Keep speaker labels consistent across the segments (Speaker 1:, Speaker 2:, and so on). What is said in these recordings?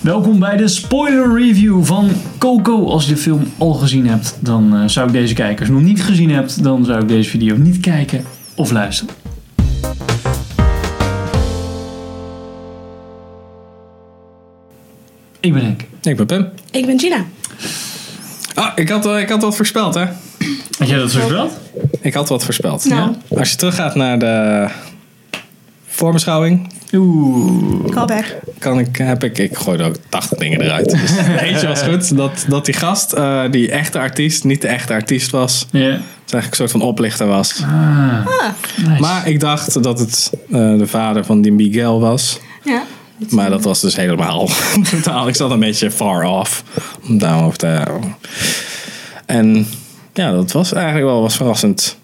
Speaker 1: Welkom bij de spoiler review van Coco. Als je de film al gezien hebt, dan eh, zou ik deze kijken. Als je hem nog niet gezien hebt, dan zou ik deze video niet kijken of luisteren. Ik ben Henk.
Speaker 2: Ik ben Pim.
Speaker 3: Ik ben Gina.
Speaker 2: Ah, ik had, eh, ik had wat voorspeld, hè?
Speaker 1: Had jij dat voorspeld?
Speaker 2: Ik had wat voorspeld.
Speaker 3: Nou,
Speaker 2: Als je teruggaat naar de voorbeschouwing,
Speaker 1: Oeh.
Speaker 3: callback.
Speaker 2: kan ik, heb ik, ik gooide ook 80 dingen eruit. Dus eentje was goed, dat, dat die gast, eh, die echte artiest, niet de echte artiest was.
Speaker 1: Ja.
Speaker 2: Dus eigenlijk een soort van oplichter was.
Speaker 1: Ah,
Speaker 3: Ah,
Speaker 1: nice.
Speaker 2: Maar ik dacht dat het eh, de vader van die Miguel was.
Speaker 3: ja.
Speaker 2: Maar dat was dus helemaal totaal. Ik zat een beetje far off. Om daarover te... En ja, dat was eigenlijk wel was verrassend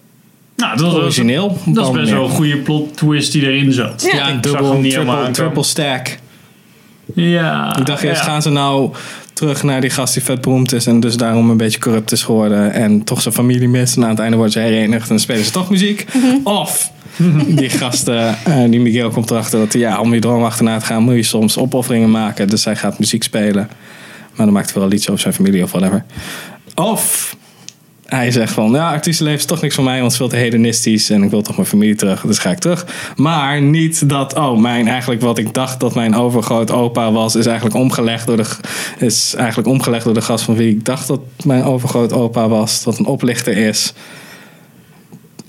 Speaker 1: nou, dat was,
Speaker 2: origineel. op een
Speaker 1: dat is
Speaker 2: bepaalde
Speaker 1: best
Speaker 2: manier.
Speaker 1: wel een goede plot twist die erin zat.
Speaker 3: Ja.
Speaker 2: Ja,
Speaker 1: ik zag
Speaker 2: dubbel,
Speaker 1: hem niet helemaal
Speaker 2: triple,
Speaker 1: aankomen.
Speaker 2: triple stack.
Speaker 1: Ja.
Speaker 2: Ik dacht eerst,
Speaker 1: ja.
Speaker 2: gaan ze nou terug naar die gast die vet beroemd is en dus daarom een beetje corrupt is geworden en toch zijn familie mist en aan het einde worden ze herenigd en dan spelen ze toch muziek? Of die gasten, eh, die Miguel komt erachter dat hij, ja, om je droom achterna te gaan moet je soms opofferingen maken. Dus hij gaat muziek spelen, maar dan maakt hij wel een liedje over zijn familie of whatever. Of hij zegt van, ja, artiestenleven is toch niks voor mij, want het is veel te hedonistisch en ik wil toch mijn familie terug, dus ga ik terug. Maar niet dat, oh, mijn, eigenlijk wat ik dacht dat mijn overgroot opa was, is eigenlijk omgelegd door de, g- is eigenlijk omgelegd door de gast van wie ik dacht dat mijn overgroot opa was, dat een oplichter is.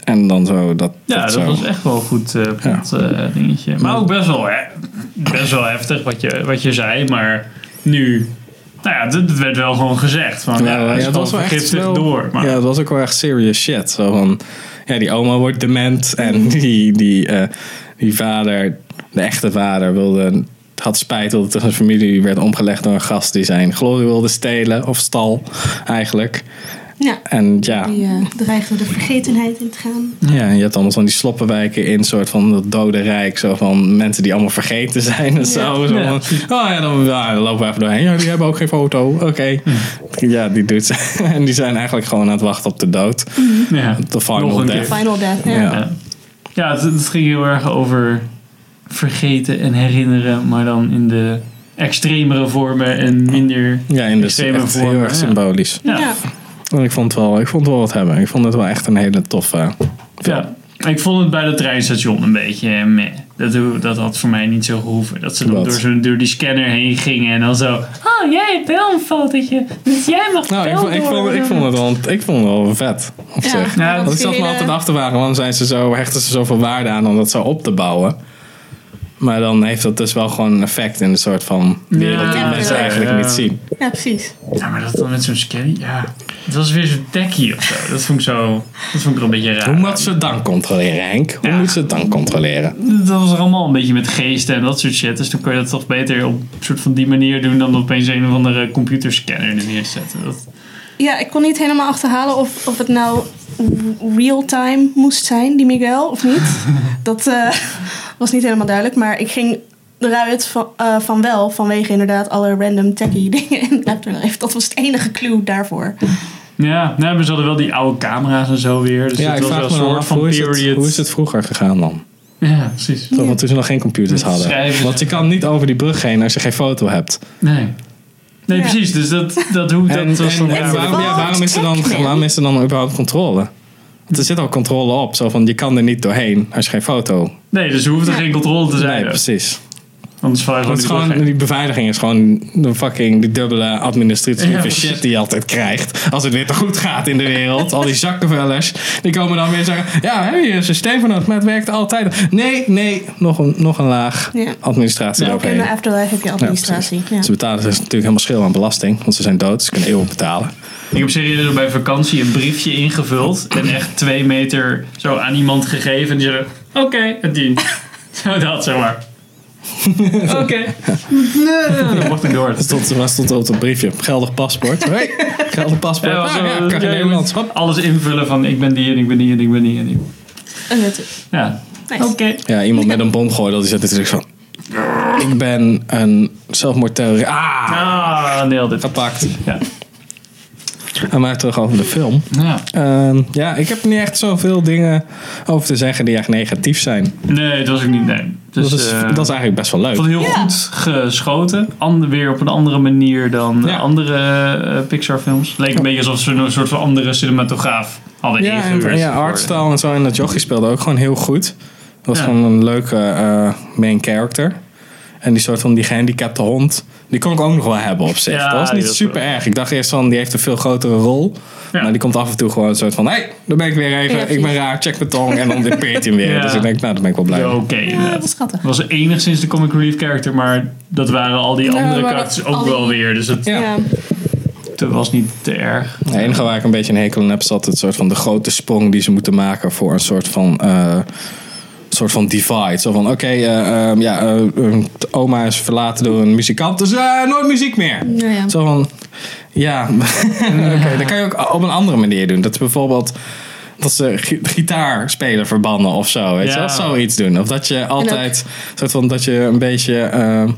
Speaker 2: En dan zo, dat,
Speaker 1: Ja, dat
Speaker 2: zo.
Speaker 1: was echt wel een goed eh, plot, eh, dingetje. Maar ook best wel, hè, best wel heftig wat je, wat je zei. Maar nu, nou ja, het werd wel gewoon gezegd. Van, Oh, ja,
Speaker 2: Ja, ja,
Speaker 1: hij is
Speaker 2: het
Speaker 1: gewoon
Speaker 2: was wel echt
Speaker 1: vergiftigd
Speaker 2: wel,
Speaker 1: door. Maar,
Speaker 2: Ja,
Speaker 1: ja.
Speaker 2: het was ook wel echt serious shit. Zo van, ja, die oma wordt dement en die, die, eh, die vader, de echte vader, wilde, had spijt dat het zijn familie werd omgelegd door een gast die zijn glorie wilde stelen of stal eigenlijk.
Speaker 3: ja.
Speaker 2: En ja,
Speaker 3: Die eh, dreigde de vergetenheid in te gaan.
Speaker 2: ja en je hebt allemaal van die sloppenwijken in, soort van dat dode rijk, zo van mensen die allemaal vergeten zijn en zo. zo
Speaker 1: Ja.
Speaker 2: van, oh ja, dan, ja, dan lopen we even doorheen. Ja, die hebben ook geen foto. Oké. Ja, die doet ze. En die zijn eigenlijk gewoon aan het wachten op de dood. The final
Speaker 1: Nog een
Speaker 2: death.
Speaker 1: keer.
Speaker 3: Final Death, ja.
Speaker 2: Ja.
Speaker 1: Ja, ja het, het ging heel erg over vergeten en herinneren. Maar dan in de extremere vormen en minder...
Speaker 2: Ja, in de
Speaker 1: Extreme
Speaker 2: echt heel
Speaker 1: vormen,
Speaker 2: erg
Speaker 1: ja.
Speaker 2: symbolisch.
Speaker 1: Ja.
Speaker 3: Ja.
Speaker 2: En ik vond, het wel, ik vond het wel wat hebben. Ik vond het wel echt een hele toffe.
Speaker 1: Ja. Ik vond het bij het treinstation een beetje eh, meh. Dat, ho- dat had voor mij niet zo gehoeven. Dat ze dan
Speaker 2: Wat?
Speaker 1: door, zo'n- door die scanner heen gingen en dan zo... Oh, jij hebt wel een fotootje. Dus jij mag
Speaker 2: Nou, ik
Speaker 1: wel
Speaker 2: vond, ik,
Speaker 1: door."
Speaker 2: vond, ik, vond het wel, ik vond het wel vet. Op
Speaker 3: Ja.
Speaker 2: zich.
Speaker 1: Ja,
Speaker 2: Want ik zat me altijd af te vragen, waarom zijn ze zo, hechten ze zoveel waarde aan om dat zo op te bouwen? Maar dan heeft dat dus wel gewoon een effect in een soort van wereld die
Speaker 1: Ja,
Speaker 2: mensen
Speaker 1: ja,
Speaker 2: eigenlijk
Speaker 1: ja.
Speaker 2: niet zien.
Speaker 3: Ja, precies.
Speaker 1: Ja, maar dat dan met zo'n scanner... Ja, het was weer zo'n dekkie of zo. Dat vond ik zo... Dat vond ik er een beetje raar.
Speaker 2: Hoe moet ze het dan controleren, Henk? Hoe
Speaker 1: Ja.
Speaker 2: moet ze het dan controleren?
Speaker 1: Dat was er allemaal een beetje met geesten en dat soort shit. Dus dan kon je dat toch beter op een soort van die manier doen... dan opeens een of andere computerscanner er neerzetten. Dat,
Speaker 3: Ja, ik kon niet helemaal achterhalen of, of het nou real-time moest zijn, die Miguel, of niet. Dat eh, was niet helemaal duidelijk, maar ik ging eruit van, eh, van wel, vanwege inderdaad alle random techie dingen in Afterlife. Dat was het enige clue daarvoor.
Speaker 1: Ja, nee, maar ze hadden wel die oude camera's en zo weer. Dus
Speaker 2: Ja,
Speaker 1: het
Speaker 2: ik
Speaker 1: was wel
Speaker 2: vraag
Speaker 1: een
Speaker 2: me dan
Speaker 1: soort
Speaker 2: af,
Speaker 1: van
Speaker 2: hoe is, het,
Speaker 1: period.
Speaker 2: hoe is het vroeger gegaan dan?
Speaker 1: Ja, precies.
Speaker 2: Toch, want toen ze nog geen computers
Speaker 1: Met
Speaker 2: hadden.
Speaker 1: schrijven.
Speaker 2: Want je kan niet over die brug heen als je geen foto hebt.
Speaker 1: Nee. Nee,
Speaker 3: Ja.
Speaker 1: precies. Dus dat, dat, hoe, dat
Speaker 2: En,
Speaker 1: was
Speaker 2: en-
Speaker 1: dan
Speaker 2: en
Speaker 1: raar.
Speaker 2: waarom, ja, waarom, is er dan,
Speaker 3: Techman.
Speaker 2: waarom is er dan überhaupt controle? Want er zit al controle op. Zo van, je kan er niet doorheen als je geen foto
Speaker 1: Nee, dus er hoeft er geen controle te zijn. Dus
Speaker 2: Nee, precies.
Speaker 1: Anders val je
Speaker 2: Want
Speaker 1: gewoon
Speaker 2: het is
Speaker 1: niet
Speaker 2: gewoon,
Speaker 1: doorheen.
Speaker 2: die beveiliging is gewoon de fucking die dubbele administratieve
Speaker 1: Ja, precies.
Speaker 2: shit die je altijd krijgt. Als het weer te goed gaat in de wereld. al die zakkenvellers. Die komen dan weer zeggen. Ja, heb je een systeem voor nodig, maar het werkt altijd. Nee, nee. Nog een, nog een laag
Speaker 3: Ja.
Speaker 2: administratie
Speaker 3: Ook in
Speaker 2: eroverheen.
Speaker 3: de Afterlife heb je
Speaker 2: Ja,
Speaker 3: administratie.
Speaker 2: precies.
Speaker 3: Ja,
Speaker 2: Ze betalen dus natuurlijk helemaal schil aan belasting. Want ze zijn dood. Ze kunnen eeuwig betalen.
Speaker 1: Ik heb serieus bij vakantie een briefje ingevuld. En echt twee meter zo aan iemand gegeven. En die zei, oké, het dient. Zo dat, zeg maar. Oké. Nee, dan mocht ik door.
Speaker 2: Dat stond, waar stond op het briefje? Geldig paspoort. Hey, geldig paspoort.
Speaker 1: Ja,
Speaker 2: Ja,
Speaker 1: was zo-
Speaker 2: ja, kan geen
Speaker 1: ja, je
Speaker 2: Nederlands.
Speaker 1: moet alles invullen van ik ben die en ik ben die en ik ben die en ik.
Speaker 3: En het-
Speaker 1: Ja.
Speaker 3: Nice.
Speaker 2: Ja, iemand met een bom gooien, dat is natuurlijk van... Ik ben een zelfmoordterrorist. Ah!
Speaker 1: Ah, nailed it.
Speaker 2: Gepakt.
Speaker 1: Ja.
Speaker 2: aan mij terug over de film.
Speaker 1: Ja.
Speaker 2: Ehm, ja, ik heb niet echt zoveel dingen over te zeggen die echt negatief zijn.
Speaker 1: Nee, dat was ik niet. Nee. Dus,
Speaker 2: dat, is,
Speaker 1: eh,
Speaker 2: dat is eigenlijk best wel leuk.
Speaker 1: ik vond het heel
Speaker 3: Ja.
Speaker 1: goed geschoten. Ander, weer op een andere manier dan eh,
Speaker 2: Ja.
Speaker 1: andere eh, Pixar-films. Het leek een beetje alsof ze een soort van andere cinematograaf hadden
Speaker 2: Ja, en,
Speaker 1: ingehuurd.
Speaker 2: en ja,
Speaker 1: voor-
Speaker 2: artstyle en zo. En dat jochie speelde ook gewoon heel goed. Dat was
Speaker 1: Ja.
Speaker 2: gewoon een leuke eh, main character. En die soort van die gehandicapte hond. Die kon ik ook nog wel hebben op zich.
Speaker 1: Ja,
Speaker 2: dat was niet
Speaker 1: dat is
Speaker 2: super erg. Ik dacht eerst van, die heeft een veel grotere rol.
Speaker 1: Ja.
Speaker 2: Maar die komt af en toe gewoon een soort van... Hé, hey, daar ben ik weer even.
Speaker 3: Ja,
Speaker 2: ik ben
Speaker 3: precies.
Speaker 2: raar, check mijn tong. En dan depeert hij hem weer.
Speaker 1: Ja.
Speaker 2: Dus ik denk, nou, daar ben ik wel blij
Speaker 1: Ja,
Speaker 2: mee.
Speaker 1: Oké,
Speaker 3: Ja,
Speaker 1: inderdaad.
Speaker 3: dat is schattig.
Speaker 1: Het was enigszins de comic relief character, maar dat waren al die
Speaker 3: Ja,
Speaker 1: andere
Speaker 3: maar
Speaker 1: karakters
Speaker 3: al
Speaker 1: ook
Speaker 3: die-
Speaker 1: wel weer. Dus het
Speaker 2: Ja.
Speaker 3: Ja.
Speaker 1: het was niet te erg.
Speaker 2: Het enige waar ik een beetje een hekel aan heb, is altijd het soort van de grote sprong die ze moeten maken voor een soort van. eh, soort van divide. Zo van, oké, eh, ehm, ja, eh, ehm, de oma is verlaten door een muzikant, dus eh, nooit muziek meer.
Speaker 3: Nou ja.
Speaker 2: Zo van, ja, oké, dat kan je ook op een andere manier doen. Dat is bijvoorbeeld dat ze gi- gitaarspelen verbannen of zo, weet
Speaker 1: Ja.
Speaker 2: je wel? Zoiets doen. Of dat je altijd, soort van, dat je een beetje, ehm,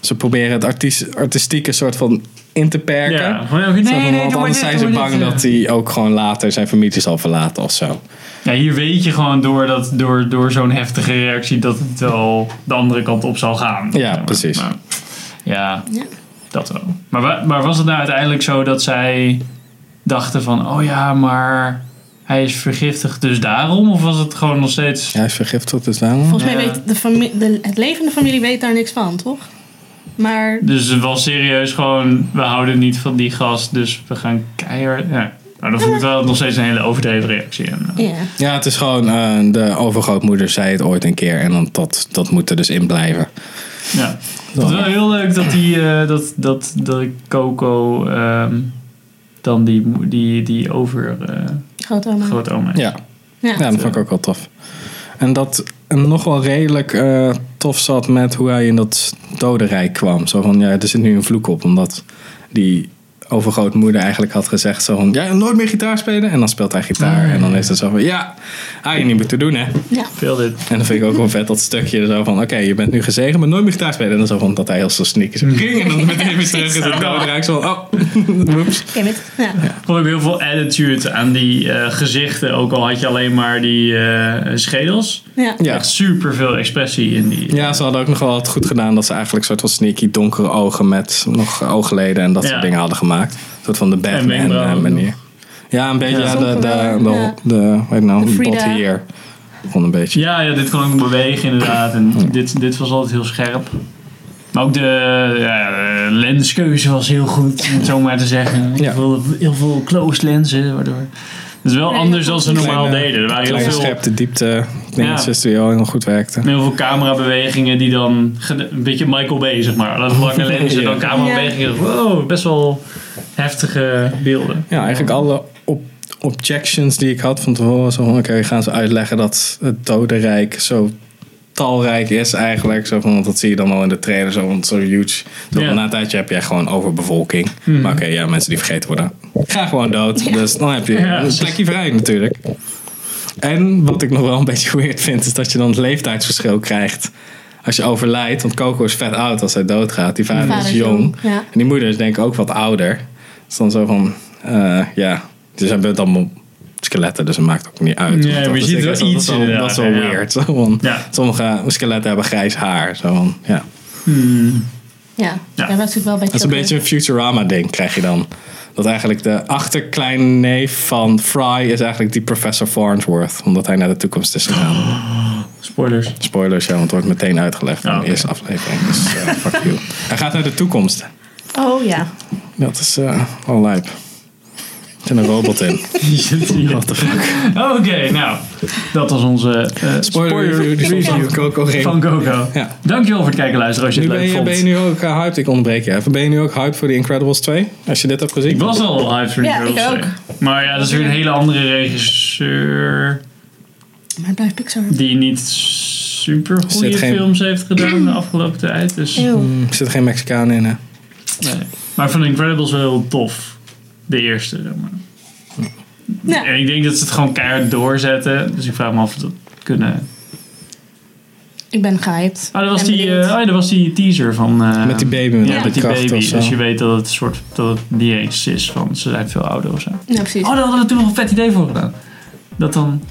Speaker 2: ze proberen het artiest, artistieke soort van in te perken.
Speaker 1: Ja, gewoon ook, nee,
Speaker 2: Zo van,
Speaker 1: nee, doe
Speaker 2: want
Speaker 1: maar
Speaker 2: anders
Speaker 1: dit,
Speaker 2: zijn
Speaker 1: doe
Speaker 2: ze
Speaker 1: maar
Speaker 2: bang
Speaker 1: dit.
Speaker 2: dat hij ook gewoon later zijn familie zal verlaten of zo.
Speaker 1: Ja, hier weet je gewoon door, dat, door, door zo'n heftige reactie dat het wel de andere kant op zal gaan.
Speaker 2: Ja,
Speaker 1: maar-
Speaker 2: precies.
Speaker 1: maar- ja,
Speaker 3: Ja.
Speaker 1: dat wel. Maar, wa- maar was het nou uiteindelijk zo dat zij dachten van, oh ja, maar hij is vergiftigd, dus daarom? Of was het gewoon nog steeds...
Speaker 2: Ja, hij is vergiftigd, dus daarom.
Speaker 3: Volgens mij
Speaker 1: Ja.
Speaker 3: weet de familie, de, het levende familie weet daar niks van, toch? Maar
Speaker 1: Dus het was serieus gewoon, we houden niet van die gast, dus we gaan keihard... Ja. Nou, dan vond ik wel nog steeds een hele overdreven reactie. En, eh,
Speaker 3: ja,
Speaker 2: Ja, het is gewoon, eh, de overgrootmoeder zei het ooit een keer en dan dat, dat moet er dus in blijven.
Speaker 1: ja. Ik vond
Speaker 2: Dan-
Speaker 1: het wel heel leuk dat, die, eh, dat, dat, dat Coco ehm, dan die, mo- die, die over eh
Speaker 3: grootoma.
Speaker 1: grootoma is.
Speaker 2: ja.
Speaker 3: Ja.
Speaker 2: Ja, dat vond ik ook wel tof. En dat hem nog wel redelijk eh, tof zat met hoe hij in dat dodenrijk kwam. Zo van, ja, er zit nu een vloek op. Omdat die overgrootmoeder eigenlijk had gezegd zo van... Ja, nooit meer gitaar spelen. En dan speelt hij
Speaker 1: Ah.
Speaker 2: gitaar. En dan is het zo van, ja, hij je niet meer te doen, hè.
Speaker 3: Ja.
Speaker 1: Veel dit.
Speaker 2: En dan vind ik ook wel vet dat stukje zo van... Oké, je bent nu gezegend, maar nooit meer gitaar spelen. En dan zo van, dat hij heel zo sneaky zo ging. En dan meteen weer terug in het dodenrijk. Zo van, oh, woeps.
Speaker 3: Ken je het? Ja.
Speaker 1: Vond ik heel veel attitude aan die eh, gezichten. Ook al had je alleen maar die eh, schedels.
Speaker 3: Ja.
Speaker 2: Ja.
Speaker 1: Echt super veel expressie in die.
Speaker 2: Ja, ze hadden ook nog wel het goed gedaan dat ze eigenlijk soort van sneaky donkere ogen met nog oogleden en dat
Speaker 1: Ja.
Speaker 2: soort dingen hadden gemaakt. Een soort van de Batman eh,
Speaker 1: wenkbrauwen.
Speaker 2: manier. Ja, een beetje
Speaker 1: Ja.
Speaker 2: ja, de, de, de, de,
Speaker 3: Ja.
Speaker 2: weet je nou,
Speaker 3: De
Speaker 2: bot
Speaker 3: Frida.
Speaker 2: hier. Gewoon een beetje.
Speaker 1: Ja, ja, dit kon ook bewegen inderdaad. En dit, dit was altijd heel scherp. Maar ook de ja, de lenskeuze was heel goed, om het zo maar te zeggen.
Speaker 2: Ja.
Speaker 1: Heel, veel, heel veel closed lenzen, waardoor... Het is wel
Speaker 3: Ja,
Speaker 1: anders dan ze
Speaker 2: Kleine-
Speaker 1: normaal deden. Er waren
Speaker 2: Kleine
Speaker 1: heel veel,
Speaker 2: scherp de diepte dingetjes die al heel goed werkten.
Speaker 1: heel veel camerabewegingen die dan... ged- Een beetje Michael Bay, zeg maar. Dat lange lenzen,
Speaker 2: Ja.
Speaker 1: dan camerabewegingen. Wow, best wel heftige beelden.
Speaker 2: Ja, eigenlijk alle op- objections die ik had van tevoren. Zo van, oké, gaan ze uitleggen dat het dodenrijk zo talrijk is eigenlijk. Zo van, want dat zie je dan al in de trailer, zo, want zo huge. Zo van,
Speaker 1: Ja. Hmm.
Speaker 2: Na een tijdje heb je echt gewoon overbevolking. Maar oké, ja, mensen die vergeten worden. Ga gewoon dood. Dus dan heb je
Speaker 1: Ja,
Speaker 2: een
Speaker 1: precies.
Speaker 2: plekje vrij natuurlijk. En wat ik nog wel een beetje weird vind, is dat je dan het leeftijdsverschil krijgt. Als je overlijdt, want Coco is vet oud als hij doodgaat. Die vader,
Speaker 3: Vader
Speaker 2: is
Speaker 3: is
Speaker 2: jong.
Speaker 3: jong, ja.
Speaker 2: En die moeder is denk ik ook wat ouder. Dus dan zo van, eh, ja. Dus hij bent allemaal skeletten, dus het maakt ook niet uit.
Speaker 1: Nee,
Speaker 2: Want
Speaker 1: maar je
Speaker 2: is-
Speaker 1: ziet wel
Speaker 2: dat is
Speaker 1: iets
Speaker 2: wel- Dat is wel
Speaker 1: inderdaad, ja.
Speaker 2: weird. Zo van,
Speaker 1: Ja.
Speaker 2: Sommige skeletten hebben grijs haar. Zo van, ja.
Speaker 3: Ja.
Speaker 1: Ja.
Speaker 3: ja. dat is natuurlijk wel een beetje.
Speaker 2: Dat is een beetje een Futurama-ding krijg je dan. Dat eigenlijk de achterkleinneef van Fry is eigenlijk die professor Farnsworth. Omdat hij naar de toekomst is gegaan.
Speaker 1: Spoilers.
Speaker 2: Spoilers, ja, want het wordt meteen uitgelegd in
Speaker 1: Oh,
Speaker 2: de
Speaker 1: oké.
Speaker 2: eerste aflevering. Dus eh, fuck you. Hij gaat naar de toekomst.
Speaker 3: Oh ja.
Speaker 2: Dat is eh al lijp. Er zit een robot in. What the fuck?
Speaker 1: Oké, nou. Dat was onze eh spoiler review
Speaker 2: Coco
Speaker 1: van Coco.
Speaker 2: Ja.
Speaker 1: Dankjewel voor het kijken luisteren als je
Speaker 2: Nu
Speaker 1: het
Speaker 2: ben
Speaker 1: leuk
Speaker 2: je,
Speaker 1: vond.
Speaker 2: ben je nu ook eh, hyped, ik ontbreek je even. Ben je nu ook hyped voor The Incredibles 2? Als je dit hebt gezien?
Speaker 1: Ik was al hyped voor
Speaker 3: Ja,
Speaker 1: Incredibles
Speaker 3: ik ook.
Speaker 1: 2. Maar ja, dat is weer een hele andere regisseur
Speaker 3: Maar het blijft Pixar.
Speaker 1: die niet super goede
Speaker 2: Zit geen-
Speaker 1: films heeft gedaan de afgelopen tijd. Dus,
Speaker 3: Eeuw.
Speaker 2: Hmm, Er zit geen Mexicaan in, hè?
Speaker 1: nee. Maar van Incredibles wel heel tof. De eerste. zeg maar.
Speaker 3: Ja.
Speaker 1: En ik denk dat ze het gewoon keihard doorzetten. Dus ik vraag me af of we dat kunnen.
Speaker 3: Ik ben gehyped.
Speaker 1: Ah, Oh, dat was,
Speaker 3: Ben
Speaker 1: die,
Speaker 3: benieuwd.
Speaker 1: eh, oh ja, dat was die teaser van... eh,
Speaker 2: Met die baby met
Speaker 1: Ja, met die
Speaker 2: kracht
Speaker 1: baby.
Speaker 2: of zo.
Speaker 1: Dus je weet dat het, een soort, dat het niet eens is van ze zijn veel ouder of zo. Oh,
Speaker 3: Ja, precies.
Speaker 1: daar hadden we toen nog een vet idee voor gedaan. Dat dan...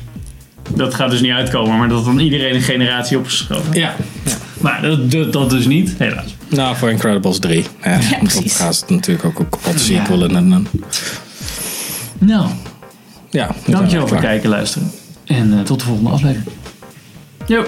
Speaker 1: Dat gaat dus niet uitkomen, maar dat dan iedereen een generatie op is geschoven.
Speaker 2: Ja,
Speaker 1: Maar dat, dat, dat dus niet, helaas.
Speaker 2: nou voor Incredibles 3. Ja, dan
Speaker 3: precies.
Speaker 2: gaan ze het natuurlijk ook op kapot sequelen. En, en,
Speaker 1: Nou,
Speaker 2: ja, dan zijn we
Speaker 1: dankjewel voor
Speaker 2: klaar.
Speaker 1: het kijken, luisteren. En eh, tot de volgende aflevering. Yo!